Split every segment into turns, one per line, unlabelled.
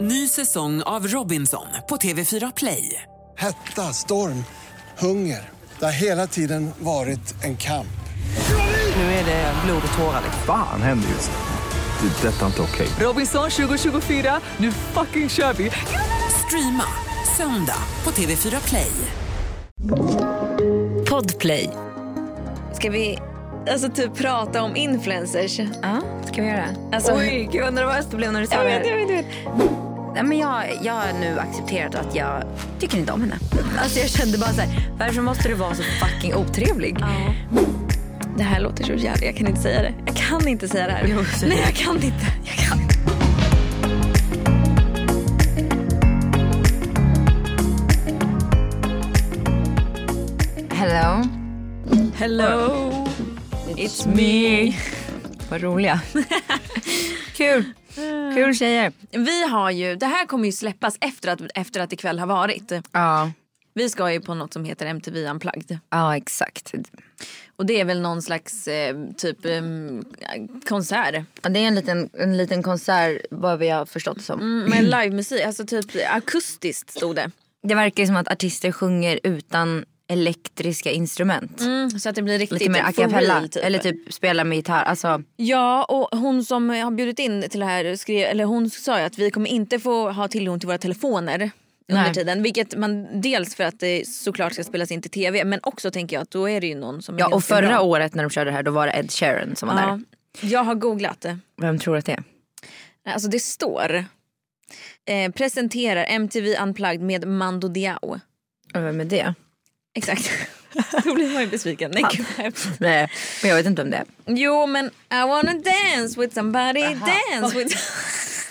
Ny säsong av Robinson på TV4 Play.
Hetta, storm, hunger. Det har hela tiden varit en kamp.
Nu är det blod och tårar. liksom.
Fan händer just nu. Det. är Detta är inte okej.
Robinson 2024, nu fucking kör vi! Streama söndag på TV4 Play.
Podplay.
Ska vi alltså, typ prata om influencers?
Ja, ska vi göra? Alltså,
Oj, gud vad nervös det blev när du sa
Jag
det
vet,
här.
jag vet, jag vet. Nej, men jag, jag har nu accepterat att jag tycker inte om henne.
Alltså, jag kände bara så här, varför måste du vara så fucking otrevlig? Det här låter så jävla, jag kan inte säga det. Jag kan inte säga det här. Nej, jag kan inte. Jag kan. inte.
Hello.
Hello, it's me.
Vad roliga. Kul. Kul tjejer.
Vi har ju, det här kommer ju släppas efter att, efter att ikväll har varit.
Ja,
Vi ska ju på något som heter MTV Unplugged.
ja exakt.
Och det är väl någon slags eh, typ eh, konsert. Mm,
Ja, Det är en liten, en liten konsert vad vi har förstått det som.
Mm, Med livemusik, alltså typ akustiskt stod det.
Det verkar ju som att artister sjunger utan elektriska instrument.
Så att det blir riktigt
Lite mer a
for
cappella.
real, Mm, typ.
Eller typ spela med gitarr. Alltså,
Ja och hon som har bjudit in till det här skrev, eller hon sa ju att vi kommer inte få ha tillgång till våra telefoner under
Nej.
tiden. Vilket man dels för att det såklart ska spelas in till tv men också tänker jag att då är det ju någon som är
ja, och
ganska
förra
bra.
året när de körde det här då var det Ed Sheeran som var
Ja,
där.
jag har googlat det.
Vem tror att det är?
Alltså det står. Eh, presenterar MTV Unplugged med Mando Diao.
Och Vem är det?
Exakt. Då blir man ju besviken. Nej, gud, vad hemskt.
Nej, men jag vet inte om det är.
jo men I wanna dance with somebody dance with...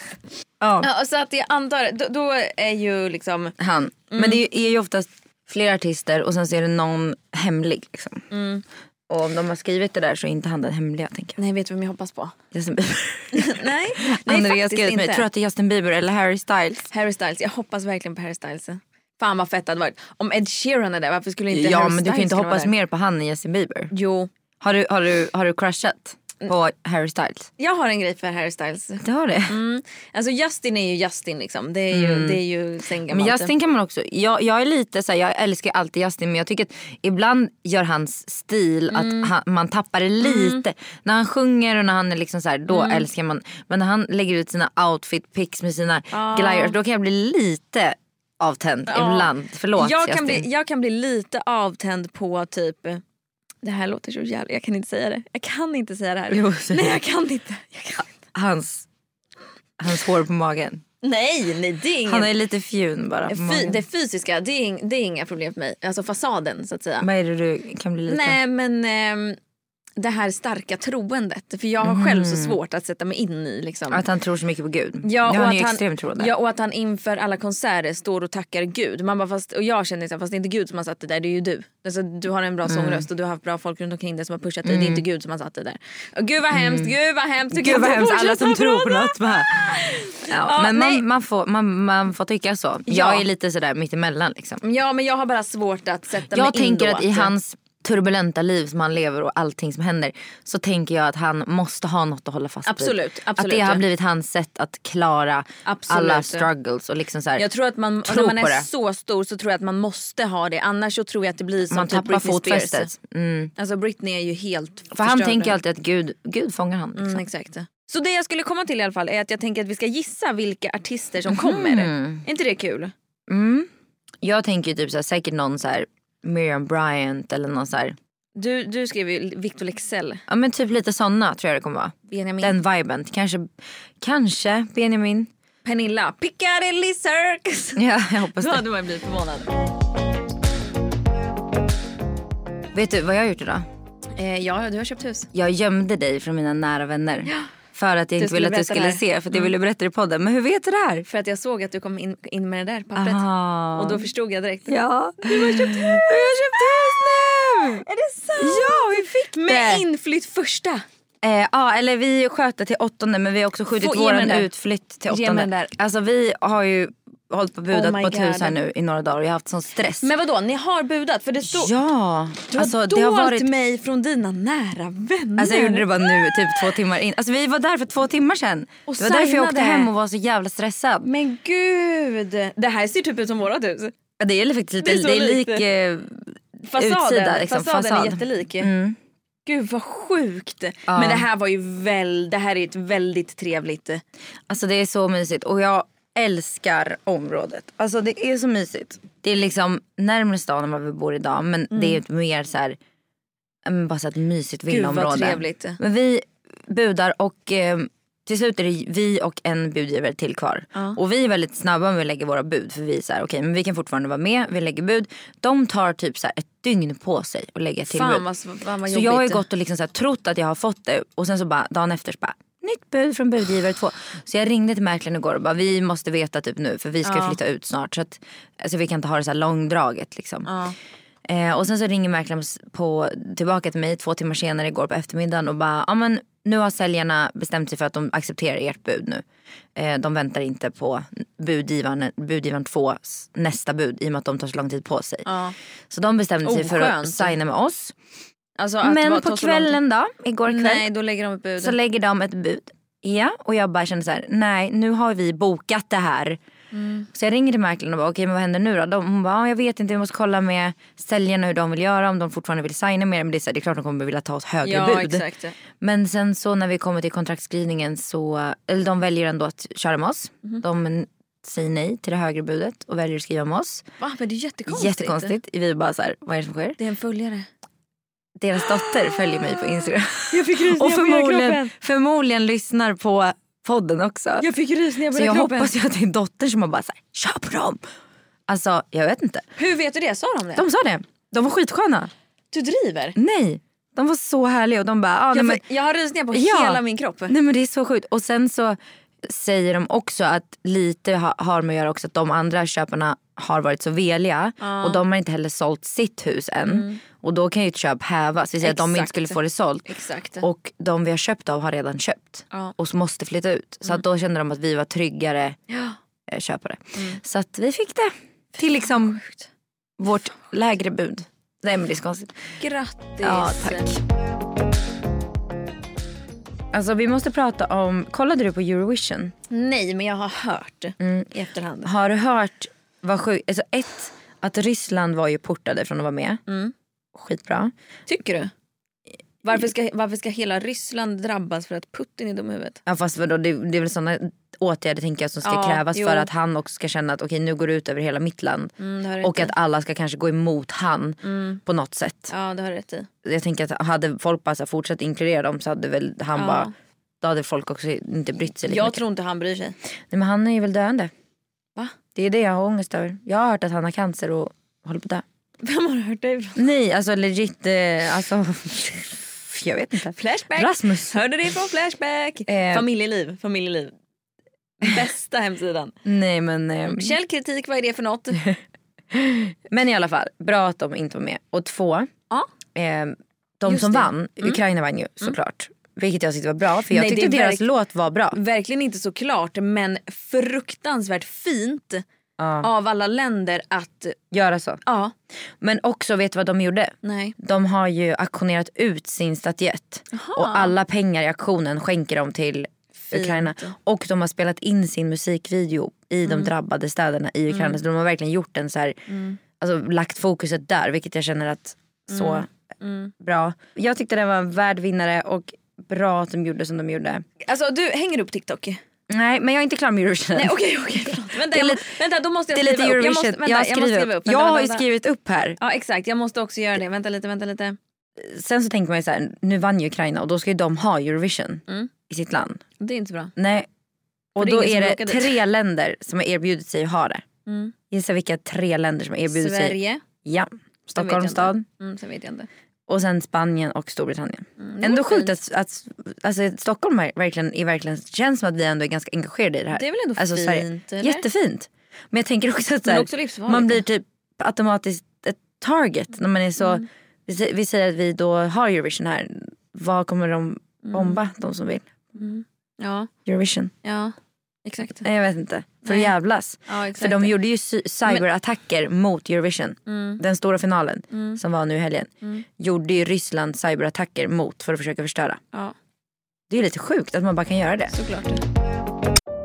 Ja,
Ja, så att jag antar, då, då är ju liksom...
han. Men det är ju oftast flera artister och sen så är det någon hemlig. Liksom.
Mm.
Och om de har skrivit det där så är inte han den hemliga tänker jag.
Nej vet du vem jag hoppas på?
Justin Bieber.
Nej, nej
Andrea har
faktiskt
skrivit mig,
inte.
tror att det är Justin Bieber eller Harry Styles.
Harry Styles, jag hoppas verkligen på Harry Styles. Fan vad fett det hade varit. Om Ed Sheeran är där, varför skulle inte
ja
Harry
men
Styles
du kan ju inte
kunna vara
hoppas
där?
mer på han än Justin Bieber.
Jo,
Har du, har du, har du crushat på Harry Styles?
jag har en grej för Harry Styles.
Det har det.
Mm. Alltså Justin är ju Justin liksom. Det är ju, det är typ- ju sen
Mm. Men
gammalt.
Justin kan man också, jag, jag är lite så här, jag älskar ju alltid Justin men jag tycker att ibland gör hans stil
Mm.
att han, man tappar det lite. När han sjunger och när han är liksom så här, då
Mm.
älskar man. Men när han lägger ut sina outfit pics med sina
Ah.
gliders då kan jag bli lite avtänd ibland. Förlåt
jag,
Justin.
kan bli, jag kan bli lite avtänd på typ... Det här låter så jävla... Jag kan inte säga det. Jag kan inte säga det här.
Jo, säg
nej
det.
jag kan inte. Jag kan.
Hans, hans hår på magen.
Nej, nej det är inget.
Han är lite fjun bara på
Fy,
magen.
det fysiska, det är, ing- det är inga problem för mig. Alltså fasaden så att säga.
Vad är det du kan bli lite?
Nej men ehm, det här starka troendet. För jag har själv så svårt att sätta mig in i liksom.
Mm. Att han tror så mycket på gud.
Ja,
han är ju
att
extremt troende.
ja, och att han inför alla konserter står och tackar Gud. Man bara, fast, och jag känner så här, fast det är inte Gud som har satt det där, det är ju du. Alltså, du har en
Mm.
bra sångröst och du har haft bra folk runt omkring dig som har pushat dig. Det är inte Gud som har satt det där. Och gud vad hemskt, gud vad hemskt. Du
Mm. Gud
kan
vad
inte
hemskt, alla som
fortsätta
tror på
prata.
något. Bara. Ja,
Ja,
men
nej.
man, man, får, man, man får tycka så.
Ja.
Jag är lite sådär mittemellan. Liksom.
Ja men jag har bara svårt att sätta mig
Jag
in då,
tänker
alltså.
att i hans turbulenta liv som han lever och allting som händer så tänker jag att han måste ha något att hålla fast
Absolut,
vid.
absolut.
Att det har blivit hans sätt att klara
Absolut.
alla struggles. Och liksom så här,
Jag tror att man,
Tro
när man är
på det.
så stor så tror jag att man måste ha det. Annars så tror jag att det blir som
man
typ
tappar
Britney Spears.
fotfästet. Mm.
Alltså Britney är ju helt
För han
förstörd.
tänker alltid att Gud, Gud fångar han. Liksom.
Mm, exakt. Så det jag skulle komma till i alla fall är att jag tänker att vi ska gissa vilka artister som kommer.
Mhm.
Är inte det kul?
Jag tänker ju typ så här, säkert någon så här, Miriam Bryant eller någon så här.
Du, du skrev ju Victor Lexell,
Ja men typ lite såna tror jag det kommer vara.
Benjamin,
Den viben. Kanske, kanske Benjamin.
Pernilla, Piccadilly Circus.
Ja, jag hoppas
Då
det.
hade man blivit förvånad.
Vet du vad jag har gjort idag?
Eh, ja, du har köpt hus.
Jag gömde dig från mina nära vänner. För att jag inte
skulle
ville att du
berätta det
skulle
här. Mm.
se. För att jag ville berätta det i podden. Men hur vet du det här?
För att jag såg att du kom in, in med det där pappret.
Aha.
Och då förstod jag direkt.
Ja. Du har köpt hus! Jag har köpt hus nu!
Är det sant?
Ja, vi fick det!
Med inflytt första.
Eh, ja, eller vi sköt det till åttonde men vi har också skjutit
Få- ge mig
våran
den där.
utflytt till
Ge mig den
åttonde.
där.
Alltså vi har ju hållit på och budat
Oh my
på ett hus
God.
här nu i några dagar och jag har haft sån stress.
Men vadå, ni har budat? För det stod...
ja,
Du har
alltså
dolt
det har varit
mig från dina nära vänner.
Alltså jag gjorde det bara nu, typ två timmar in. Alltså vi var där för två timmar sedan.
Och
det var därför jag åkte
signade.
hem och var så jävla stressad.
Men gud! Det här ser typ ut som vårat hus.
Ja, Det är faktiskt lite,
Det är så
det är lik
likt.
eh,
Fasaden,
Utsida, liksom,
fasaden
fasad. Mm.
är jättelik. Gud vad sjukt. Men det här var ju väl, det här är ett väldigt trevligt.
Alltså det är så mysigt och jag älskar området. Alltså det är så mysigt. Det är liksom närmare stan än vad vi bor idag men
Mm.
det är ett mer så här, ja, men bara så här ett mysigt
vad
villaområde.
trevligt.
Men vi budar och eh, till slut är det vi och en budgivare till kvar. Och vi är väldigt snabba med att lägga våra bud för vi är så här okej men vi kan fortfarande vara med, vi lägger bud. De tar typ så här ett dygn på sig att lägga till bud.
Fan vad, fan vad
Så jag har ju gått och liksom så här, trott att jag har fått det och sen så bara dagen efter så bara nytt bud från budgivare två. Så jag ringde till mäklaren igår och bara vi måste veta typ nu för vi ska flytta ut snart så att alltså, vi kan inte ha det så här långdraget liksom. Eh, och sen så ringer mäklaren på, tillbaka till mig två timmar senare igår på eftermiddagen och bara ja men nu har säljarna bestämt sig för att de accepterar ert bud nu. Eh, de väntar inte på budgivaren, budgivaren två nästa bud i och med att de tar så lång tid på sig. Så de bestämde sig för att
Oskönt.
signa med oss.
Alltså, att det var- tar
Men på
så lång tid.
kvällen då, igår kväll,
Nej då lägger de upp bud.
så lägger de ett bud. Ja, och jag bara kände så här, nej nu har vi bokat det här.
Mm.
Så jag ringer till mäklaren och bara, okej men vad händer nu då? De, hon bara, ja, jag vet inte, vi måste kolla med säljarna hur de vill göra, om de fortfarande vill signa mer. Men det är, så här, det är klart de kommer vilja ta oss högre
Ja,
bud.
exakt.
Men sen så när vi kommer till kontraktskrivningen så, eller de väljer ändå att köra med oss.
Mhm.
De säger nej till det högre budet och väljer att skriva med oss.
Va? Men det är jättekonstigt.
Jättekonstigt. Vi bara så här, vad är det som sker?
Det är en följare.
Deras dotter följer mig på Instagram.
Jag fick rysningar
Och
på hela
förmodligen,
kroppen.
förmodligen lyssnar på podden också.
Jag fick rysningar på
så
hela
jag
kroppen.
hoppas ju att det är dottern som har bara så här, köp dem. Alltså jag vet inte.
Hur vet du det? Sa de det?
De sa det. De var skitsköna.
Du driver?
Nej, de var så härliga och de bara, ah, nej,
Jag,
men,
får- jag har rysningar på
Ja.
hela min kropp.
nej men det är så sjukt. Och sen så säger de också att lite ha, har med att göra också att de andra köparna har varit så veliga
Ah.
och de har inte heller sålt sitt hus än. Och då kan ju ett köp hävas. Vi säger att de inte
Mm. Exakt.
skulle få det sålt.
Exakt.
Och de vi har köpt av har redan köpt
Ja.
och så måste flytta ut. Så att då kände de att vi var tryggare eh, köpare. Så att vi fick det till liksom vårt lägre bud. Nej men det är så konstigt.
Grattis.
Ja tack. Alltså vi måste prata om, kollade du på Eurovision?
Nej men jag har hört
Mm.
i efterhand.
Har du hört vad sjukt, alltså ett, att Ryssland var ju portade från att vara med. Skitbra.
Tycker du? Varför ska, varför ska hela Ryssland drabbas för att Putin är dum i huvudet?
Ja, fast vadå, det, det är väl sådana åtgärder tänker jag som ska
Ja,
krävas för
jo.
att han också ska känna att okej nu går det ut över hela mitt land.
Mm, det Mm. har du
och
rätt
att alla ska kanske gå emot han på något sätt.
Ja det har du rätt i.
Jag tänker att hade folk bara så här fortsatt inkludera dem så hade väl han
Ja.
bara, då hade folk också inte brytt sig lika
Jag
mycket.
tror inte han bryr sig.
Nej men han är ju väl döende.
Va?
Det är det jag har ångest över. Jag har hört att han har cancer och håller på att dö.
Vem har du hört det ifrån?
Nej alltså legit, eh, alltså jag vet inte.
Flashback!
Rasmus.
Hörde det från Flashback!
Eh.
Familjeliv, familjeliv. Bästa hemsidan.
Nej men. Eh,
Källkritik, vad är det för något?
Men i alla fall, bra att de inte var med. Och två,
Ja.
eh, de
Just
som
det. Mm.
vann, Ukraina vann ju såklart. Vilket jag tyckte var bra för jag
Nej, det
tyckte
är
deras
verk- Mm.
låt var bra.
Verkligen inte så klart men fruktansvärt fint
Ja.
av alla länder att...
Göra så.
Ja,
Men också, vet du vad de gjorde?
nej.
De har ju auktionerat ut sin statyett. Och alla pengar i auktionen skänker de till Ukraina. Och de har spelat in sin musikvideo i
Mm.
de drabbade städerna i Ukraina. Så de har verkligen gjort en så här, alltså lagt fokuset där. Vilket jag känner att så
Mm.
bra. Jag tyckte det var en värd vinnare och bra att de gjorde som de gjorde.
Alltså du, hänger du på TikTok? Nej
Nej men jag är inte klar med Eurovision än.
okej okej förlåt. Vänta,
är
jag, må-
lite-
vänta då måste jag
Det är lite
skriva upp. Jag
Eurovision.
måste,
Jag,
vänta, jag, måste
skriver-
skriva upp.
jag
Vänta,
har ju
vänta.
skrivit upp här.
Ja exakt, jag måste också göra det. Vänta lite, vänta lite.
Sen så tänker man ju så här, nu vann ju Ukraina och då ska ju de ha Eurovision
Mm.
i sitt land.
Det är inte så bra.
Nej. Och
det är
då
ingen som
är det
vill åka dit.
tre länder som har erbjudit sig att ha det. Gissa vilka tre länder som har erbjudit sig.
Mm. Sverige.
Ja.
Sen vet jag
Stockholms
inte.
stad
Mm, sen vet jag inte.
och sen Spanien och Storbritannien.
Mm, det var
ändå sjukt att, att alltså, Stockholm är verkligen, är verkligen, känns som att vi ändå är ganska engagerade i det här.
Det är väl ändå
Alltså,
fint,
Sverige.
eller?
Jättefint. Men jag tänker också att så
Men
här,
också livsfarligt.
man blir typ automatiskt ett target när man är så,
Mm.
vi, sä- vi säger att vi då har Eurovision här,
Mm.
vad kommer de bomba de som vill?
Ja,
Eurovision.
ja. Exakt.
Nej, Jag vet inte. För att jävlas.
Ja, exakt.
Eh,
Mm.
För de gjorde ju cy- cyberattacker mot Eurovision. Den stora finalen som var nu i helgen. Gjorde ju Ryssland cyberattacker mot för att försöka förstöra.
Ja,
Det är lite sjukt att man bara kan göra det.
såklart.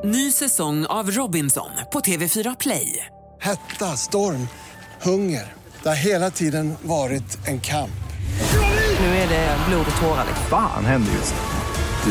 Ny säsong av Robinson på TV4 Play.
Hetta, storm, hunger. Det har hela tiden varit en kamp.
Nu är det blod och tårar. liksom.
Fan händer just nu. Det.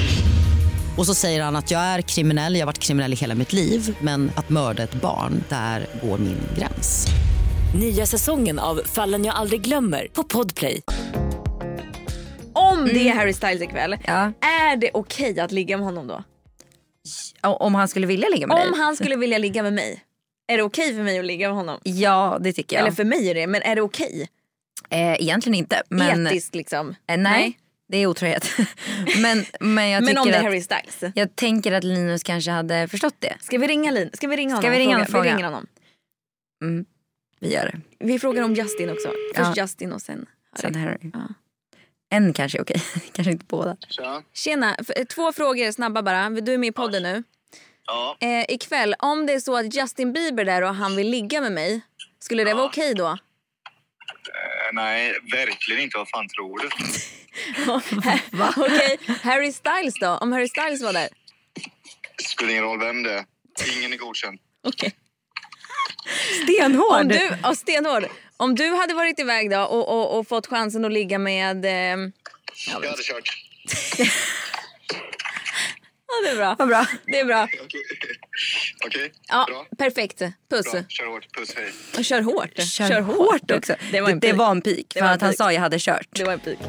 Och så säger han att jag är kriminell, jag har varit kriminell i hela mitt liv men att mörda ett barn, där går min gräns.
Nya säsongen av Fallen jag aldrig glömmer på Podplay.
Om det är Harry Styles ikväll,
Mm. Ja.
är det okej att ligga med honom då?
O- Om han skulle vilja ligga med
Om
dig.
han skulle vilja ligga med mig, är det okej för mig att ligga med honom?
Ja det tycker jag.
Eller för mig är det, men är det okej?
eh, egentligen inte. Men,
Etiskt liksom?
Eh, nej, det är otrohet. men, men jag
Men om det
tycker
är
att,
Harry Styles?
jag tänker att Linus kanske hade förstått det.
Ska vi ringa Lin? Ska vi ringa honom?
Ska vi ringa honom och
Vi
fråga?
ringer honom.
Vi gör det.
Vi frågar om Justin också. Först Justin och sen Harry.
Sen Harry. En kanske är okej, kanske inte båda.
Tjena, f- eh, två frågor snabba bara. Du är med i podden nu.
Ja,
Eh, ikväll, om det är så att Justin Bieber där och han vill ligga med mig, skulle det vara okej då?
eh, nej, verkligen inte. Vad fan tror du?
okej, Harry Styles då? Om Harry Styles var där?
Spelar ingen roll vem det är. Ingen är godkänd.
Okej.
Stenhård!
Om du, ja, stenhård. Om du hade varit iväg då och, och, och fått chansen att ligga med... ehm,
Jag hade kört.
ja, det är bra.
Vad bra.
Det är bra.
Okej, Okej,
Ja,
bra.
perfekt. Puss.
Bra, kör hårt. Puss, hej.
Och kör hårt.
Kör, hårt också.
Det var en pik.
pik.
Det
För
var en
att han
pik.
sa jag hade kört.
Det var en pik.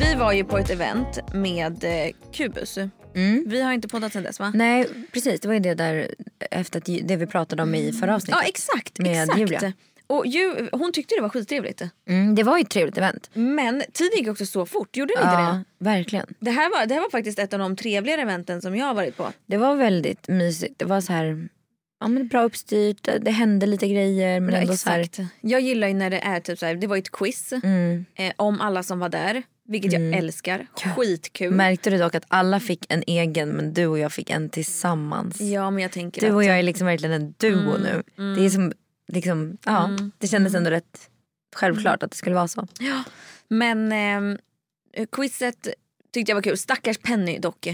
Vi var ju på ett event med eh, Kubus. Vi har inte poddat sen dess va?
Mm. Nej precis, det var ju det där efter att, ju- det vi pratade om i förra avsnittet.
Ja exakt.
Med
exakt.
Julia.
Och ju, hon tyckte det var skittrevligt.
Mm, det var ju ett trevligt event.
Men tiden gick också så fort, gjorde den inte det?
verkligen.
Det här, var, det här var faktiskt ett av de trevligare eventen som jag har varit på.
Det var väldigt mysigt. Det var så här, ja, men bra uppstyrt, det hände lite grejer men ändå så här.
Jag gillar ju när det är typ så här, det var ju ett quiz
Mm.
eh, om alla som var där. Vilket jag älskar. Skitkul.
Märkte du dock att alla fick en egen men du och jag fick en tillsammans?
ja men jag tänker
Du
att
och jag är liksom verkligen en duo nu. Det är som, liksom, ja, det kändes ändå rätt självklart att det skulle vara så.
Men ehm, quizet tyckte jag var kul. Stackars Penny dock.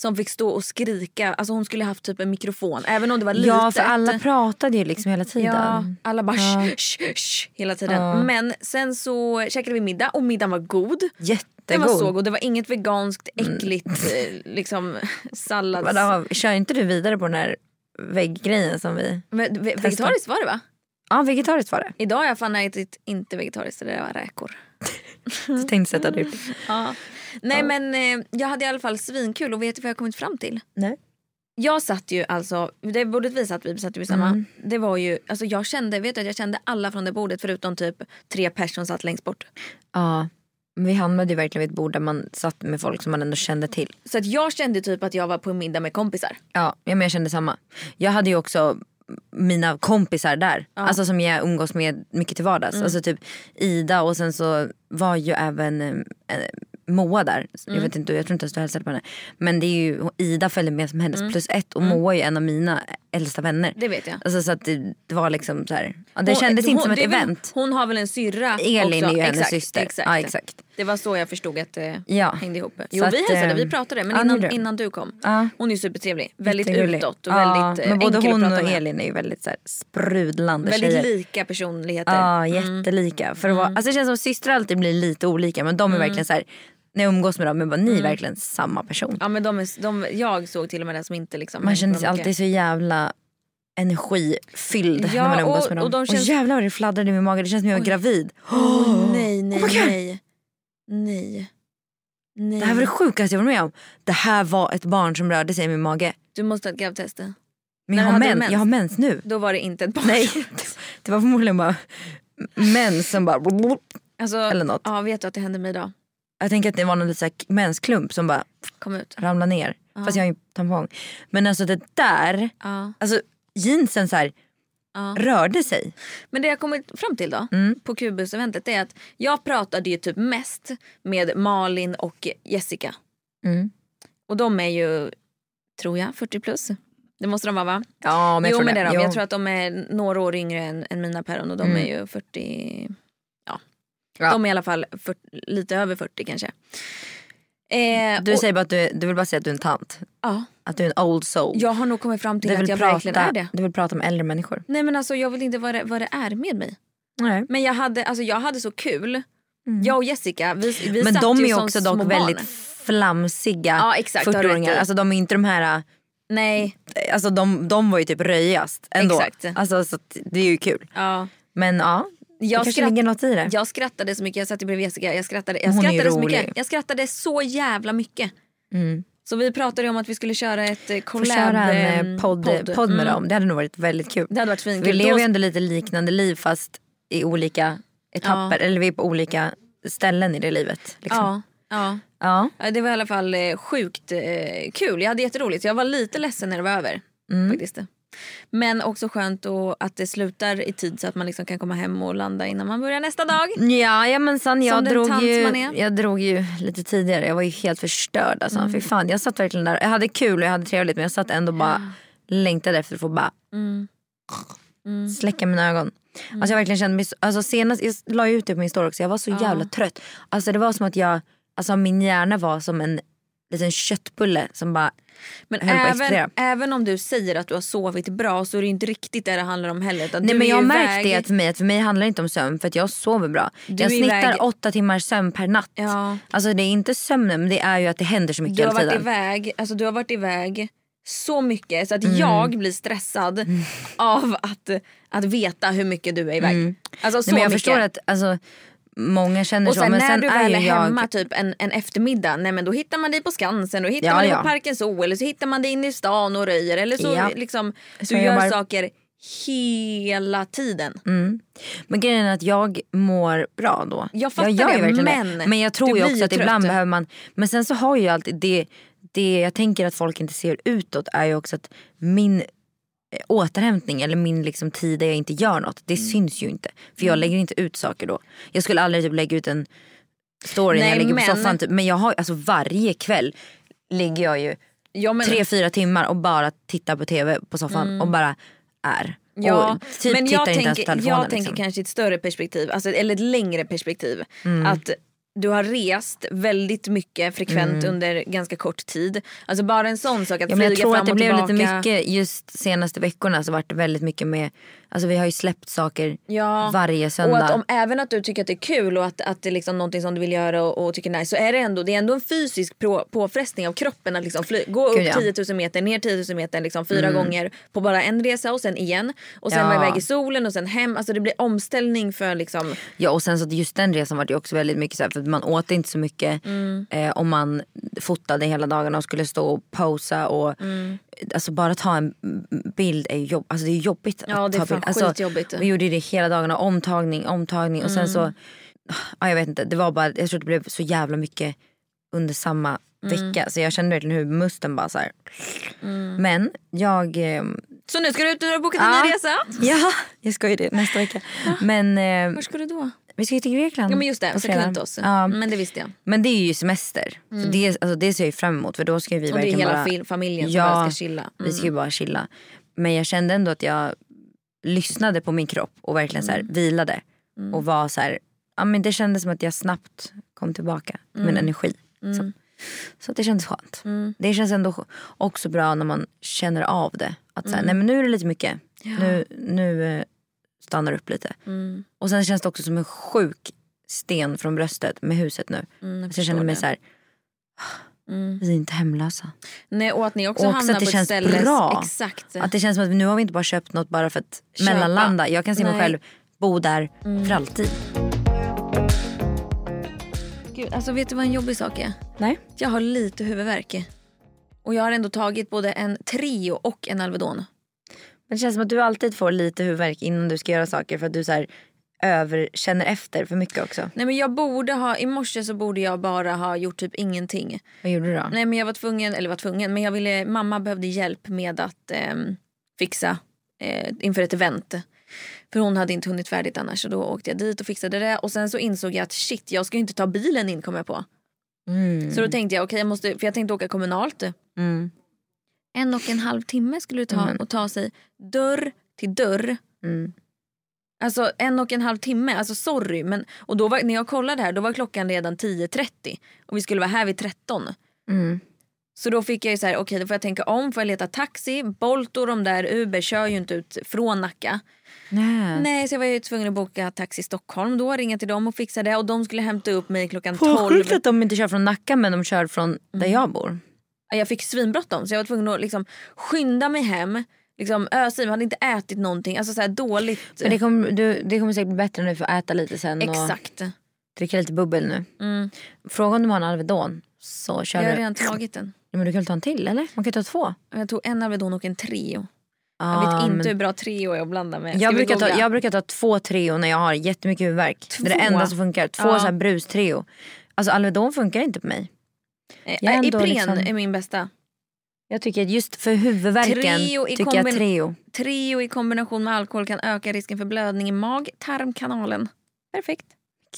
Som fick stå och skrika. Alltså hon skulle haft typ en mikrofon. Även om det var litet.
Ja för alla pratade ju liksom hela tiden.
Ja, alla bara
Ja.
sh, sh, sh, hela tiden.
Ja.
Men sen så käkade vi middag och middagen var god. Den
Jättegod.
var så god. Det var inget veganskt, äckligt eh, liksom sallads...
Mm. Vadå, kör inte du vidare på den här vägggrejen som vi...
Ve- ve- Vegetariskt var det va?
Ja, vegetariskt var det.
Idag har jag fan ätit inte vegetariskt, det där var räkor.
Så tänkte sätta du.
Nej men eh, jag hade i alla fall svinkul och vet du vad jag kommit fram till?
Nej.
Jag satt ju alltså, det bordet vi satt vid, satt ju vid samma.
Mm.
Det var ju, alltså jag kände, vet du att jag kände alla från det bordet förutom typ tre personer som satt längst bort.
Ja, men vi hamnade ju verkligen vid ett bord där man satt med folk som man ändå kände till.
Så att jag kände typ att jag var på en middag med kompisar.
Ja, ja, men jag kände samma. Jag hade ju också mina kompisar där. Alltså som jag umgås med mycket till vardags.
Mm.
Alltså typ Ida och sen så var ju även eh, Moa där. Jag
Mm.
vet inte, jag tror inte ens du hälsade på henne. Men det är ju, och Ida följde med som hennes plus ett och Moa är ju en av mina äldsta vänner.
Mm. Det vet jag.
Alltså så att det, det var liksom så här. Ja, det
Hon-
kändes inte som ett
det är väl-
event.
Hon har väl en syrra
Elin
också.
är ju hennes
exakt,
syster.
Exakt.
Ja, exakt.
Det var så jag förstod att det
Ja.
hängde ihop.
Så
Jo
att,
vi hälsade,
ehm,
vi pratade men
ja,
innan,
gjorde du.
innan du kom.
Ja.
Hon är ju supertrevlig. Väldigt
Jättegullig.
utåt och
Ja,
väldigt eh,
men både
enkel
hon
att prata
och
med.
Elin är ju väldigt så här, sprudlande
Väldigt Mm.
tjejer.
lika personligheter.
Ja, jättelika. För att vara, alltså det känns som systrar alltid blir lite olika men de är
Mm.
verkligen så här, när jag umgås med dem, jag bara, ni är verkligen samma person.
Ja, men de är, de, jag såg till och med den som inte liksom...
Man känner sig
mycket.
alltid så jävla energifylld
Ja,
när man umgås
och-
med dem.
och de känns-
jävlar vad det fladdrade i min mage, det känns som jag är gravid.
Åh, nej, nej,
Oh my God.
nej. Nej. Nej.
Det här var det sjukaste jag varit med om. Det här var ett barn som rörde sig i min mage.
Du måste ha ett grabbtest.
Men
När
jag
du
har,
hade
mens.
mens?
jag har mens nu.
Då var det inte ett barn.
Nej, det var förmodligen bara mens som bara...
Alltså,
Eller något.
Ja, vet du att det hände mig idag?
Jag tänker att det var någon liten så här mensklump som bara
Kom ut.
ramlade ner. Fast jag har ju tampong. Men alltså det där,
Ja.
alltså jeansen så här
Ja.
rörde sig.
Men det jag kommit fram till då
Mm.
på Kubus-eventet är att jag pratade ju typ mest med Malin och Jessica.
Mm.
Och de är ju, tror jag, 40 plus. Det måste de vara va?
Ja Mm.
jo men det är de. Jag tror att de är några år yngre än, än mina päron och de är ju 40, ja.
Ja.
De är i alla fall 40, lite över 40 kanske. Eh,
Du
och,
säger bara att du, du vill bara säga att du är en tant.
ja,
Att du är en old soul.
jag har nog kommit fram till
du,
att
vill
jag verkligen
prata,
är det.
du vill prata om äldre människor.
Nej men alltså jag vet inte vad det, vad det är med mig.
Nej.
Men jag hade, alltså, jag hade så kul. Jag och Jessica, vi, vi
Mm. Men
satt
de
ju
är ju
som
också
små
dock
barn.
väldigt flamsiga
Ja, exakt, det har du
40-åringar.
rätt i.
Alltså de är inte de här,
Nej,
alltså de, de var ju typ röjigast ändå.
Exakt.
Alltså så att det är ju kul.
ja.
Men ja, det
Jag,
kanske ligger något i det.
jag skrattade så mycket, jag satt ju bredvid Jessica. Jag skrattade, jag
Hon är ju
skrattade så
rolig.
mycket. Jag skrattade så jävla mycket. Så vi pratade ju om att vi skulle köra ett eh,
Får
collab.
köra en
ehm,
eh, podd, podd med
Mm.
dem. Det hade nog varit väldigt kul.
Det hade varit
vi
svinkul.
lever
Då-
ju ändå lite liknande liv fast i olika etapper. Eller vi är på olika ställen i det livet. Liksom.
Ja, ja.
Ja.
Ja, Det var i alla fall eh, sjukt eh, kul. Jag hade jätteroligt. Jag var lite ledsen när det var över.
Mm.
Faktiskt. Men också skönt då att det slutar i tid så att man liksom kan komma hem och landa innan man börjar nästa dag.
Ja, jajamensan, jag,
den
drog
tant
ju,
man är. Mm.
jag drog ju lite tidigare. Jag var ju helt förstörd. Alltså. Fy fan, jag satt verkligen där. Jag hade kul och jag hade trevligt men jag satt ändå bara längtade efter att få bara
Mm.
släcka mina ögon. Alltså jag verkligen kände mig, så- alltså senast, jag la ju ut det på min story också, jag var så jävla trött. Alltså det var som att jag, alltså min hjärna var som en liten köttbulle som bara
Men
höll på att explodera.
även, även om du säger att du har sovit bra så är det inte riktigt det det handlar om heller. utan
Nej
du
men
är
jag har
ju
märkt
iväg-
det att för mig, att för mig handlar det inte om sömn för att jag sover bra. jag
är
snittar
iväg-
åtta timmar sömn per natt.
Ja.
Alltså det är inte sömnen men det är ju att det händer så mycket
Du har,
hela
varit
tiden.
iväg, alltså du har varit iväg så mycket så att
Mm.
jag blir stressad av att, att veta hur mycket du är iväg. Alltså så
Mm. Nej, men jag
mycket.
förstår att alltså, många känner
och
så
sen
men
när
sen
du
är
väl
ju
är
jag...
hemma typ en, en eftermiddag nej, men då hittar man dig på Skansen, då hittar
Ja,
man dig
ja.
på Parken Zoo eller så hittar man dig inne i stan och röjer. Eller så
Ja.
liksom, du
jag Mm.
gör
jobbar.
saker hela tiden.
Men grejen är att jag mår bra då.
Jag fattar
gör ju
det,
verkligen
men
men jag
du
tror ju
blir
också
ju
att ibland
trött.
behöver man... Men sen så har ju alltid det, det jag tänker att folk inte ser utåt är ju också att min eh, återhämtning eller min liksom tid där jag inte gör något
Mm.
det syns ju inte. För jag lägger inte ut saker då. Jag skulle aldrig typ lägga ut en story när
Nej,
jag ligger på
men-
soffan. Typ. Men jag har alltså varje kväll ligger jag ju
Ja, men, Mm.
tre, fyra timmar och bara tittar på tv på soffan och bara är.
Ja,
och typ
men
tittar
jag
inte
tänker,
ens på telefonen.
jag tänker
liksom.
kanske i ett större perspektiv, alltså, eller ett längre perspektiv.
Mm.
Att du har rest väldigt mycket frekvent under ganska kort tid. Alltså bara en sån sak att
Mm. Ja, men
flyga
jag tror
fram
att det
och
blev
tillbaka.
lite mycket just senaste veckorna så vart det väldigt mycket med, alltså vi har ju släppt saker
Ja.
varje söndag.
Och att om, även att du tycker att det är kul och att, att det är liksom någonting som du vill göra och, och tycker är nice så är det ändå, det är ändå en fysisk på, påfrestning av kroppen att liksom fly, gå
Gud,
upp
ja. Mm.
10 000 meter, ner 10 000 meter liksom fyra gånger på bara en resa och sen igen. Och sen
Ja.
vara iväg i solen och sen hem. Alltså det blir omställning för liksom
Ja och sen så att just den resan var det ju också väldigt mycket så här, för att man åt inte så mycket
Mm.
eh, om man fotade hela dagarna och skulle stå och posa och
Mm.
alltså bara ta en bild är ju jobb, alltså det är jobbigt.
Ja,
att
det är
ta
fan
bild. alltså,
skitjobbigt. Mm.
Vi gjorde ju det hela dagarna, omtagning, omtagning och sen så, ja, jag vet inte, det var bara, jag tror det blev så jävla mycket under samma
Mm.
vecka så jag kände verkligen hur musten bara så här. Men jag eh,
Så nu ska du ut och du har bokat en
Ja.
ny resa.
Ja, jag ska ju det nästa vecka. Men eh,
Var ska du då?
vi ska ju till Grekland.
Ja men just
på
det,
fredag.
Zakynthos.
Ja.
Men det visste jag.
Men det är ju semester. Så det, alltså, det ser jag ju fram emot för då ska vi
Mm. Och det är
verkligen
hela
bara...
fil- familjen som
Ja,
bara ska chilla.
Vi ska ju bara chilla. Men jag kände ändå att jag lyssnade på min kropp och verkligen så här,
Mm.
vilade. Och var så här, ja, men det kändes som att jag snabbt kom tillbaka med
Mm.
min energi. Så, så att det kändes skönt. Det känns ändå skö- också bra när man känner av det. Att
Mm.
så här, nej men nu är det lite mycket. Nu, nu eh, stannar det upp lite.
Mm.
Och sen känns det också som en sjuk sten från bröstet med huset nu.
Mm, jag
så jag känner
förstår
mig
det. Mm.
så här, vi är inte hemlösa.
Nej, och att ni också
Och också
hamnar
att det
på ett
känns
ställe.
bra.
Exakt.
Att det känns som att nu har vi inte bara köpt något bara för att
Köpa.
mellanlanda. Jag kan se mig
Nej.
själv bo där för alltid.
Gud, alltså vet du vad en jobbig sak är?
Nej.
Jag har lite huvudvärk. Och jag har ändå tagit både en Trio och en Alvedon.
Men det känns som att du alltid får lite huvudvärk innan du ska göra saker för att du så här överkänner efter för mycket också.
Nej men jag borde ha, i morse så borde jag bara ha gjort typ ingenting.
Vad gjorde du då?
Nej men jag var tvungen, eller var tvungen, men jag ville, mamma behövde hjälp med att ehm, fixa eh, inför ett event. För hon hade inte hunnit färdigt annars så då åkte jag dit och fixade det och sen så insåg jag att shit jag ska ju inte ta bilen in kom jag på.
Mm.
Så då tänkte jag okej jag måste, för jag tänkte åka kommunalt. En och en halv timme skulle det ta att ta sig dörr till dörr. Alltså en och en halv timme, alltså sorry. Men, och då var, när jag kollade här då var klockan redan 10.30 och vi skulle vara här vid 13. Så då fick jag ju så här, okej då får jag tänka om, får jag leta taxi? Bolt och de där Uber kör ju inte ut från Nacka.
Nej.
Nej så jag var ju tvungen att boka taxi Stockholm då, ringa till dem och fixa det och de skulle hämta upp mig klockan 12.
Sjukt att de inte kör från Nacka men de kör från där jag bor.
Jag fick svinbråttom så jag var tvungen att liksom skynda mig hem. Liksom ösa i mig, hade inte ätit någonting, alltså så här dåligt.
Men det kommer, du, det kommer säkert bli bättre när du får äta lite sen och
Exakt.
dricka lite bubbel nu.
Mm.
Fråga om de har en Alvedon så
Jag
kör
har
du.
redan tagit den.
Ja, Men du kan väl ta en till eller? Man kan ju ta två.
Jag tog en Alvedon och en Trio. Jag
Ah,
vet inte
men-
hur bra Trio jag blandar med. Eh, Ska
jag
vi
brukar, ta,
googla?
jag brukar ta två Treo när jag har jättemycket huvudvärk. Det är det
Två?
enda som funkar. Två
Ja.
så här brustreo. Alltså Alvedon funkar inte på mig.
Eh,
jag är ändå
Ipren
liksom-
är min bästa.
Jag tycker att just för huvudvärken
Treo i
tycker jag
kombin-
Treo.
Trio i kombination med alkohol kan öka risken för blödning i mag-tarmkanalen. Perfekt.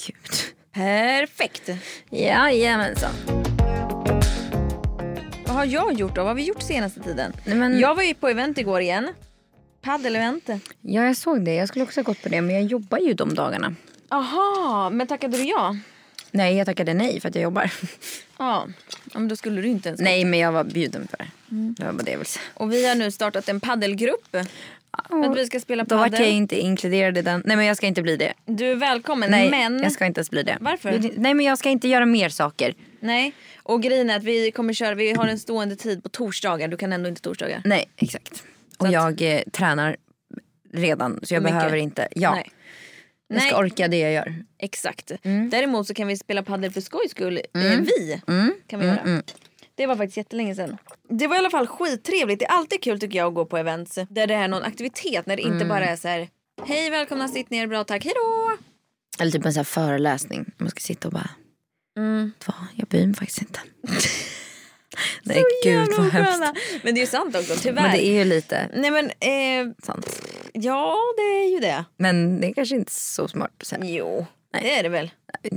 Gud.
Perfekt.
Jajamensan.
Vad har jag gjort då? Vad har vi gjort senaste tiden?
Nej, men-
Jag var ju på event igår igen. Padel-event.
Ja jag såg det. Jag skulle också ha gått på det men jag jobbar ju de dagarna.
Aha, men tackade du ja?
Nej jag tackade nej för att jag jobbar.
Ja, Ja, men då skulle du inte ens
nej men jag var bjuden för det.
Mm.
Det var bara det jag ville säga.
Och vi har nu startat en paddelgrupp. För att vi ska spela
Då vart jag
padel.
inte inkluderad i den. Nej men jag ska inte bli det.
Du är välkommen
Nej
men...
jag ska inte ens bli det.
Varför?
Nej men jag ska inte göra mer saker.
Nej, och grejen är att vi kommer köra, vi har en stående tid på torsdagar. Du kan ändå inte torsdagar.
Nej, exakt. Och
att-
jag eh, tränar redan så jag
Mycket.
behöver inte. Ja,
Nej.
jag ska
Nej.
orka Mm. det jag gör.
Exakt. Däremot så kan vi spela padel för skojs skull.
Mm.
Eh, vi kan vi göra. Det var faktiskt jättelänge sedan. Det var i alla fall skittrevligt. Det är alltid kul tycker jag att gå på events där det är någon aktivitet. När det
Mm.
inte bara är så här. Hej välkomna, sitt ner, bra tack, hejdå.
Eller typ en sån här föreläsning. Man ska sitta och bara, mm. jag bryr mig faktiskt inte. Nej gud
Jävla
vad hemskt.
osköna. Men det är ju sant också, tyvärr.
Men det är ju lite
Nej men, eh,
sant.
ja det är ju det.
Men det är kanske inte så smart att säga.
Jo, det är det väl.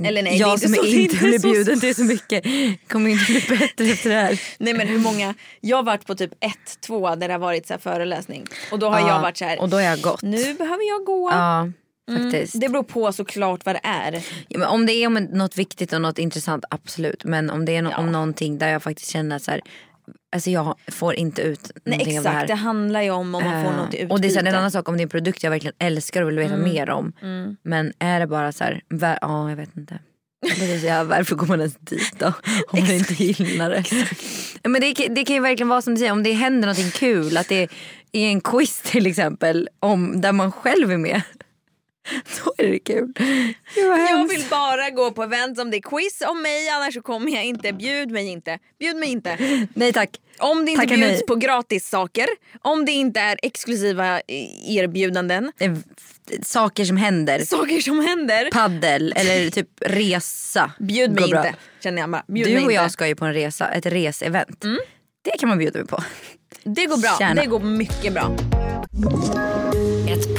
Eller nej,
jag
det är inte
som
så, det är
inte
inte
blir
så
bjuden till så mycket kommer inte bli bättre efter det här.
Nej men hur många, jag har varit på typ ett, två där det har varit så här föreläsning och då har
Ja,
jag varit så här,
och då har jag gått.
nu behöver jag gå.
Ja, faktiskt.
Det beror på såklart vad det är.
Ja, men om det är om något viktigt och något intressant, absolut. Men om det är no- om någonting där jag faktiskt känner så här, alltså jag får inte ut
Nej,
någonting av det här.
exakt, det handlar ju om om man får
Eh,
något i utbyte.
och det är så här, en annan sak om det är en produkt jag verkligen älskar och vill veta
Mm.
mer om. Men är det bara så här, vä- ja jag vet inte. Precis, ja, varför går man ens dit då? Om man inte gillar det. Ja, Men det, kan- det kan ju verkligen vara som du säger, om det händer någonting kul, att det är en quiz till exempel, om, där man själv är med. Då är det kul. Gud, vad
Jag
hemskt.
vill bara gå på event om det är quiz om mig annars så kommer jag inte. Bjud mig inte. Bjud mig inte.
Nej tack.
Om det inte
Tackar
bjuds
nej.
på gratis saker, om det inte är exklusiva eh, erbjudanden,
Eh, Saker som händer.
saker som händer,
Paddel eller typ resa.
bjud mig
går bra.
inte. Känner jag bara. Bjud mig
Du och
inte. Mm.
jag ska ju på en resa, ett resevent. Det kan man bjuda mig på.
Det går bra.
Gärna.
Det går mycket bra.
Ett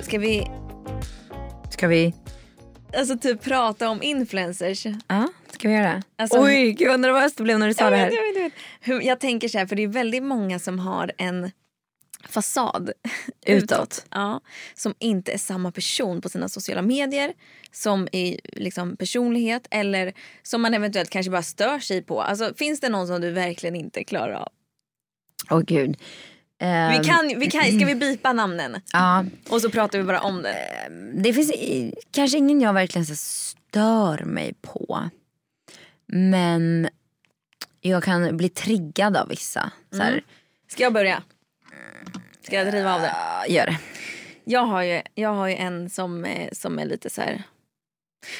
Ska vi
Ska vi?
alltså, typ prata om influencers?
Ja, ska vi göra det?
Alltså-
Oj, gud vad nervös det blev när du sa
Jag
det
vet,
här.
jag, vet, jag, vet. Hur, jag tänker så här, för det är väldigt många som har en fasad
Utåt.
Ja, som inte är samma person på sina sociala medier som i liksom, personlighet eller som man eventuellt kanske bara stör sig på. Alltså, finns det någon som du verkligen inte klarar av?
Åh gud. Ehm,
Vi kan, vi kan, ska vi bipa namnen?
mm. Ja,
Och så pratar vi bara om det.
det finns i- kanske ingen jag verkligen så stör mig på. Men jag kan bli triggad av vissa. Så här,
Ska jag börja? Ska jag driva av det?
ja, äh, gör det.
Jag har ju, jag har ju en som, eh, som är lite så här...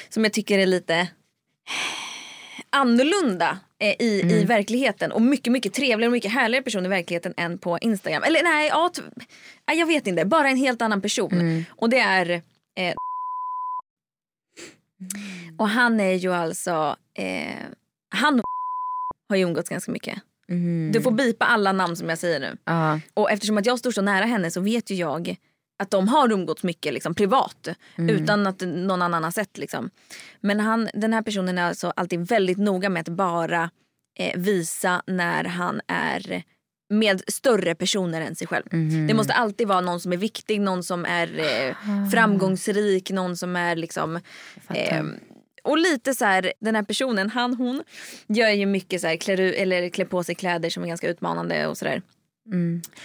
Som jag tycker är lite annorlunda eh, i, i verkligheten. Och mycket, mycket trevligare och mycket härligare person i verkligheten än på Instagram. Eller nej, ja, t- nej, jag vet inte. Bara en helt annan person. Och det är... Eh, och han är ju alltså... Eh, han och har ju umgåtts ganska mycket. Du får bipa alla namn som jag säger nu.
Mm, Ja.
Och eftersom att jag står så nära henne så vet ju jag att de har umgåtts mycket liksom, privat utan att någon annan har sett. Liksom. Men han, den här personen är alltså alltid väldigt noga med att bara eh, visa när han är med större personer än sig själv. Det måste alltid vara någon som är viktig, någon som är eh, framgångsrik, någon som är liksom... Eh, och lite så här, den här personen, han hon, gör ju mycket så här, klär, u- eller klär på sig kläder som är ganska utmanande och sådär.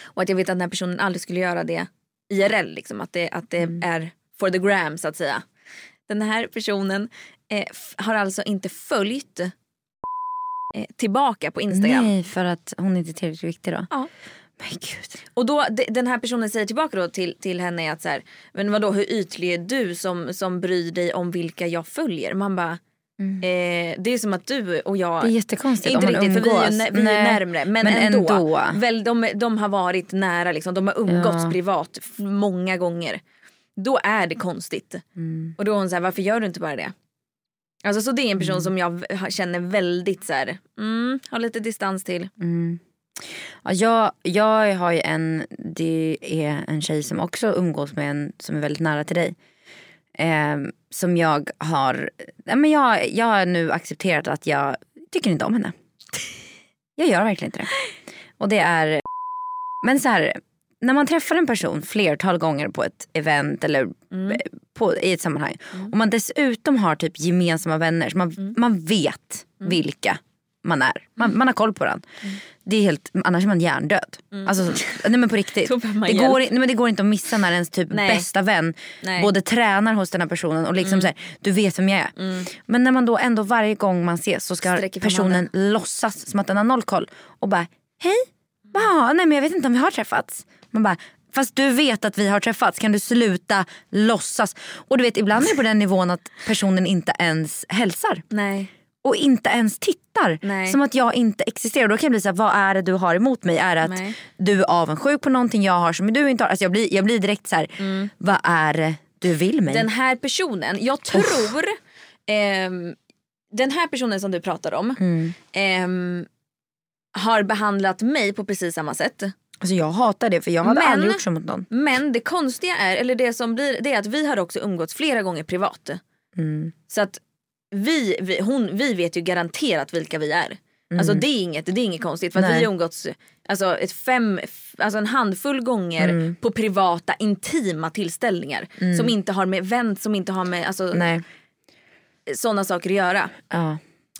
Och att jag vet att den här personen aldrig skulle göra det IRL. Liksom, att det, att det är for the gram så att säga. Den här personen eh, f- har alltså inte följt eh, tillbaka på Instagram.
Nej, för att hon är inte tillräckligt viktig då.
Ja.
Men gud.
Och då, de- den här personen säger tillbaka då till, till henne att så här, men vadå hur ytlig är du som, som bryr dig om vilka jag följer? Man bara, eh, det är som att du och jag
Mm. Det är jättekonstigt
inte
om man
riktigt, för vi är, ju
umgås.
nä- vi är
Nej,
närmre. Men,
men
ändå.
ändå.
Väl, de, de har varit nära, liksom, de har umgåtts
Ja.
privat f- många gånger. Då är det konstigt.
Mm,
Och då är hon så här, varför gör du inte bara det? Alltså, så det är en
Mm.
person som jag v- har- känner väldigt så här, mm, har lite distans till.
mm. Ja, jag, jag har ju en, det är en tjej som också umgås med en som är väldigt nära till dig. Ehm, som jag har, nej, men jag, jag har nu accepterat att jag tycker inte om henne. Jag gör verkligen inte det. Och det är, men så här, när man träffar en person flertal gånger på ett event eller
Mm.
på, i ett sammanhang och man dessutom har typ gemensamma vänner så man,
Mm.
man vet vilka man är. Man, man har koll på den.
Mm.
Det är helt, annars är man hjärndöd. Alltså, nej men på riktigt.
Då behöver man
det,
hjälp.
går, i- nej men det går inte att missa när ens typ
Nej.
bästa vän
Nej. Mm.
både tränar hos den här personen och liksom så här, du vet vem jag är. Men när man då ändå varje gång man ses så ska
Sträcker fram
personen låtsas som att den har noll koll och bara hej, ja, nej men jag vet inte om vi har träffats. Man bara Fast du vet att vi har träffats, kan du sluta låtsas? Och du vet ibland är det på den nivån att personen inte ens hälsar
Nej.
och inte ens tittar.
Nej.
Som att jag inte existerar. Då kan jag bli så här, vad är det du har emot mig? Är det att
Nej.
du är avundsjuk på någonting jag har som du inte har? Alltså jag, blir, jag blir direkt så här, vad är det du vill mig?
Mm. Den här personen, jag tror, ehm, den här personen som du pratar om
Mm.
ehm, har behandlat mig på precis samma sätt.
Alltså jag hatar det för jag hade
Men-
aldrig gjort så mot någon.
Men det konstiga är, eller det som blir, det är att vi har också umgåtts flera gånger privat.
Mm.
Så att vi, vi, hon, vi vet ju garanterat vilka vi är. Alltså det är inget, det är inget konstigt för att
Mm. Nej.
vi har umgåtts alltså, ett fem, f- alltså en handfull gånger
Mm.
på privata intima tillställningar. Som inte har med event, som inte har med alltså,
Nej.
sådana saker att göra.
Ja.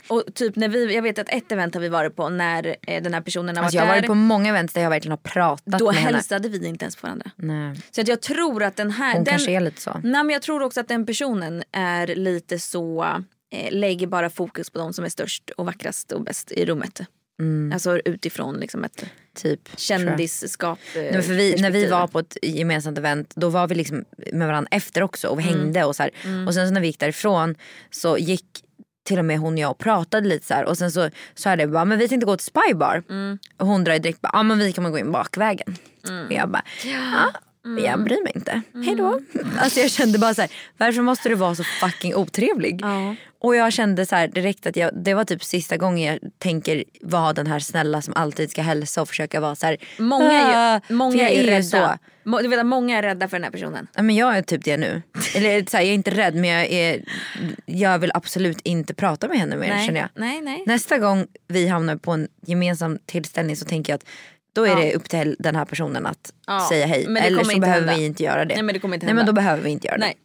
Och typ när vi, jag vet att ett event har vi varit på när eh, den här personen har
Alltså jag
varit där.
har varit på många event där jag verkligen har pratat
då
med henne.
hälsade vi inte ens på varandra.
Nej.
Så att jag tror att den här...
Hon
den,
kanske är lite så.
Nej men jag tror också att den personen är lite så, eh, lägger bara fokus på de som är störst och vackrast och bäst i rummet. Alltså utifrån liksom ett
Typ. tror Mm. jag.
kändisskap. eh,
Nej, men för vi, när vi
perspektiv.
var på ett gemensamt event då var vi liksom med varandra efter också och vi
Mm.
hängde och så här. Och sen så när vi gick därifrån så gick till och med hon och jag och pratade lite så här. och sen så sa jag det bara, men vi tänkte gå till Spybar.
Mm.
Och hon drar ju direkt bara, ja men vi kan man gå in bakvägen. Och jag bara, ja.
Mm.
Jag bryr mig inte. Hej då. Alltså jag kände bara så här, varför måste du vara så fucking otrevlig?
Ja.
Och jag kände så här direkt att jag, det var typ sista gången jag tänker vara den här snälla som alltid ska hälsa och försöka vara så här.
Många är ju,
"Ah", för
många
jag
är ju rädda.
så.
Må- Du vet att många är rädda för den här personen.
Ja, men jag är typ det nu. Eller så här, jag är inte rädd men jag, är, jag vill absolut inte prata med henne mer känner jag.
nej, nej.
Nästa gång vi hamnar på en gemensam tillställning så tänker jag att då är
Ja.
det upp till den här personen att
Ja,
säga hej.
men det
Eller
kommer
så
inte
behöver
hända.
vi inte göra det.
Nej, men det kommer inte
Nej men
hända. Mm.
då behöver vi inte göra
Nej.
det.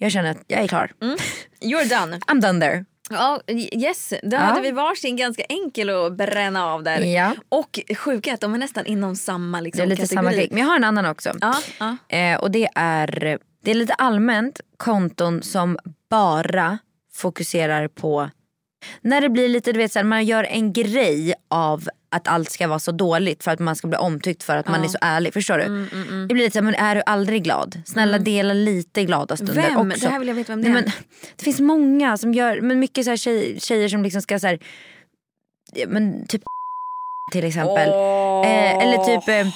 Jag känner att jag är klar.
You're done.
I'm done there.
Ja, yes, då hade vi varsin ganska enkel att bränna av där.
Ja.
Och sjuka att de är nästan inom samma liksom,
Det är lite
kategori.
samma grej. Men jag har en annan också.
Ja, ja.
Eh, och det är, det är lite allmänt konton som bara fokuserar på när det blir lite, du vet så här, man gör en grej av att allt ska vara så dåligt för att man ska bli omtyckt för att man är så ärlig. Förstår du?
Mm,
Det blir lite så här, men är du aldrig glad? Snälla dela lite glada stunder
Vem?
också.
Det här vill jag veta vem det
Nej,
är.
men, det finns många som gör, men mycket så här tjej, tjejer som liksom ska så här, ja, men typ till exempel. Eh, eller typ eh,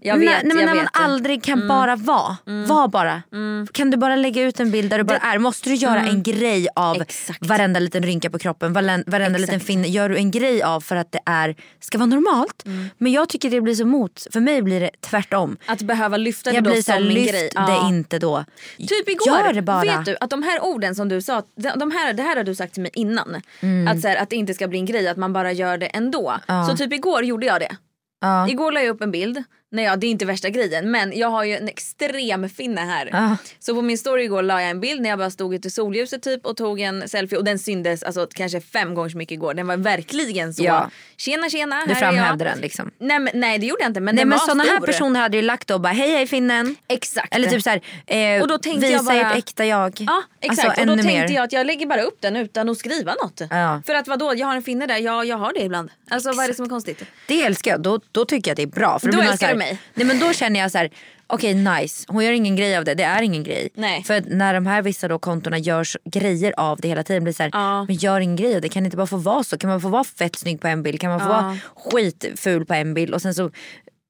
Jag vet,
nej, nej, men
jag
när man
vet typ. Mm. det.
aldrig kan bara vara. Var bara.
Mm.
Kan du bara lägga ut en bild där du bara är? Måste du göra en grej av
Exakt.
varenda liten rynka på kroppen, valen- varenda liten
Exakt.
finne gör du en grej av för att det är, ska vara normalt?
Mm.
Men jag tycker det blir så mot, för mig blir det tvärtom.
Att behöva lyfta det
Jag
då
blir så här,
som en
lyft
grej.
det
Ja.
inte då.
Typ igår,
Gör det bara.
vet du att de här orden som du sa, de de här, det här har du sagt till mig innan.
Mm.
Att, så här, att det inte ska bli en grej, att man bara gör det ändå. Så typ igår gjorde jag det.
Ja.
Igår la jag upp en bild, nej ja, det är inte värsta grejen men jag har ju en extrem finne här.
Ja.
Så på min story igår la jag en bild när jag bara stod ute i solljuset typ och tog en selfie och den syndes alltså, kanske fem gånger så mycket igår. Den var verkligen så,
Ja.
tjena tjena här
Du framhävde
är jag.
den liksom.
Nej, men, nej det gjorde jag inte men
Nej
den
men
var
sådana här
stor.
personer hade ju lagt och bara hej hej finnen.
Exakt.
Eller typ såhär, eh,
Och då tänkte
visa
jag bara-
ert äkta jag.
Ja exakt
Alltså,
och då
ännu
tänkte
mer.
jag att jag lägger bara upp den utan att skriva något.
Ja.
För att vadå jag har en finne där, ja jag har det ibland. Alltså vad är det som är konstigt?
Det älskar jag, då, då tycker jag att det är bra. För
Då
blir man
älskar
så här-
du mig.
Nej, men då känner jag så här, okej nice, hon gör ingen grej av det, det är ingen grej.
Nej.
För att när de här vissa då kontona gör så- grejer av det hela tiden blir det så här,
Ja.
men gör ingen grej av det, kan det inte bara få vara så? Kan man få vara fett snygg på en bild? Kan man få
Ja.
vara skitful på en bild? Och sen så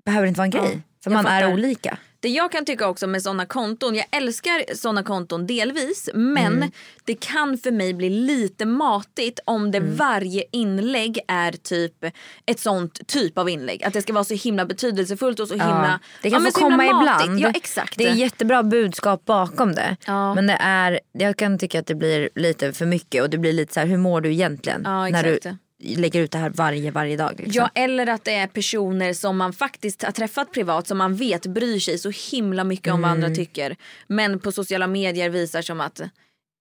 behöver det inte vara en grej. För
jag
man är
fattar.
olika.
Det jag kan tycka också med såna konton, jag älskar såna konton delvis men
Mm.
det kan för mig bli lite matigt om
Mm.
det varje inlägg är typ ett sånt typ av inlägg. Att det ska vara så himla betydelsefullt och så himla...
Det kan
men
få
så himla
komma
matigt.
ibland.
Ja exakt.
Det är jättebra budskap bakom det.
Ja.
Men det är, jag kan tycka att det blir lite för mycket och det blir lite så här, hur mår du egentligen?
Ja,
när du
exakt.
lägger ut det här varje, varje dag. Liksom.
Ja eller att det är personer som man faktiskt har träffat privat som man vet bryr sig så himla mycket om vad
Mm.
andra tycker. Men på sociala medier visar som att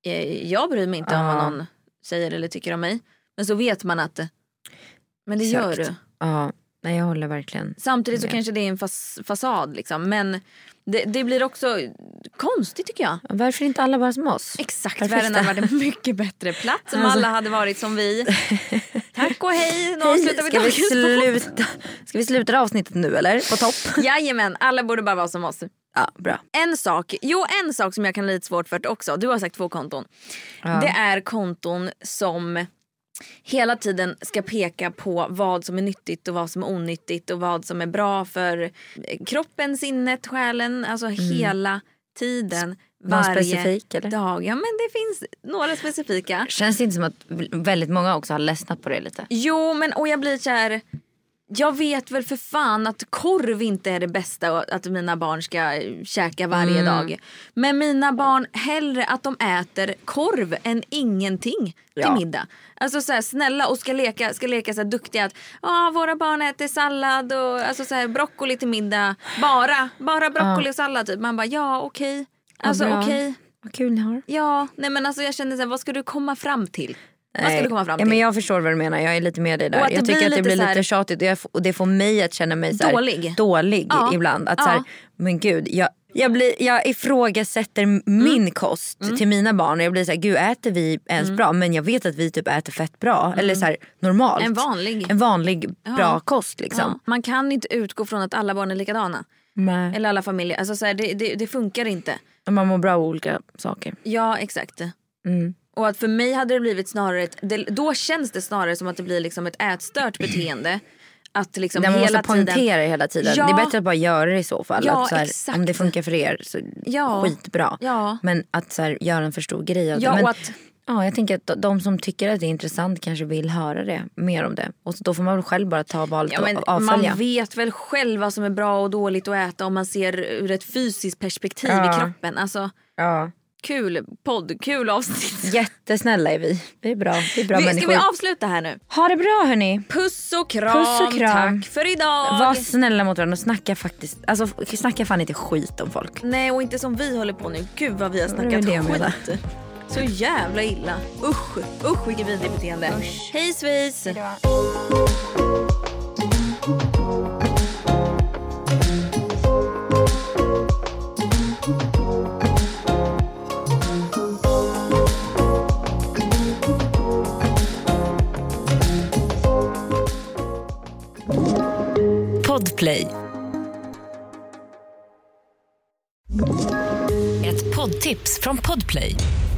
eh, jag bryr mig inte om vad någon säger eller tycker om mig. Men så vet man att men det gör
Exakt.
du.
Ja, nej jag håller verkligen.
Samtidigt så
med.
kanske det är en fas- fasad liksom. Men det, det blir också konstigt tycker jag.
Varför är inte alla bara som oss?
Exakt,
Perfekta.
världen hade varit en mycket bättre plats om alla hade varit som vi. Tack och hej, nu
Alltså. Hej,
avslutar vi
ska, vi
dagens podd.
sluta, ska vi sluta det här avsnittet nu eller? På topp?
Jajamän, alla borde bara vara som oss.
Ja, bra.
En sak, jo en sak som jag kan ha lite svårt för också, du har sagt två konton. Det är konton som hela tiden ska peka på vad som är nyttigt och vad som är onyttigt och vad som är bra för eh, kroppen, sinnet, själen. Alltså hela tiden.
Mm. Någon
varje
specifik, eller?
dag. Ja men det finns några specifika.
Känns det inte som att väldigt många också har ledsnat på det lite?
Jo men och jag blir så här. Jag vet väl för fan att korv inte är det bästa och att mina barn ska eh, käka
Mm.
varje dag. Men mina barn hellre att de äter korv än ingenting till
Ja.
middag. Alltså så här, snälla och ska leka, ska leka så här duktiga att ah, våra barn äter sallad och alltså så här, broccoli till middag. Bara, bara broccoli och sallad typ. Man bara ja okej. Alltså
bra.
okej.
Vad kul ni har.
Ja, nej men alltså jag känner så här, vad ska du komma fram till? Vad ska du komma fram
ja,
till?
men jag förstår vad du menar, jag är lite med dig där.
Och att det
Jag tycker
blir
att det
lite
blir
så
lite
här-
tjatigt och, jag, f- och det får mig att känna mig så här,
Dålig.
dålig
Ja.
ibland. Att så här,
Ja.
men gud, jag, jag, blir, jag ifrågasätter
Mm.
min kost till mina barn och jag blir så här, gud äter vi ens
Mm.
bra? Men jag vet att vi typ äter fett bra. Eller så här, normalt.
En vanlig.
En vanlig bra
Ja.
kost liksom.
Ja, man kan inte utgå från att alla barn är likadana.
Nej.
Eller alla familjer. Alltså, så här, det, det, det funkar inte.
Man mår bra av olika saker.
Ja, exakt.
Mm.
Och att för mig hade det blivit snarare ett, det, Då känns det snarare som att det blir liksom ett ätstört beteende. Att liksom
Där man
hela
måste poängtera
tiden...
hela tiden.
Ja.
Det är bättre att bara göra det i så fall.
Ja,
att så här,
exakt.
om det funkar för er så
Ja.
skitbra.
Ja.
Men att så här, göra en för stor grej av
Ja,
det. Men,
och att-
ja, jag tänker att de- de som tycker att det är intressant kanske vill höra det, mer om det. Och så, då får man väl själv bara ta valet
Ja, men
och avfölja.
man vet väl själv vad som är bra och dåligt att äta om man ser ur ett fysiskt perspektiv
Ja.
i kroppen. Alltså,
Ja.
kul podd, kul avsnitt.
Jättesnälla är vi. Vi är bra, vi är bra
vi, ska
människor.
vi avsluta här nu?
Ha det bra hörni.
Puss och kram.
Puss och kram.
Tack för idag.
Var snälla mot varandra och snacka faktiskt, alltså f- snacka fan inte skit om folk.
Nej och inte som vi håller på nu. Gud vad vi har
Det var
snackat
det jag menade.
skit. Så jävla illa. Usch, usch vilket vidrigt beteende. Hej svejs!
Podplay. Ett poddtips från Podplay.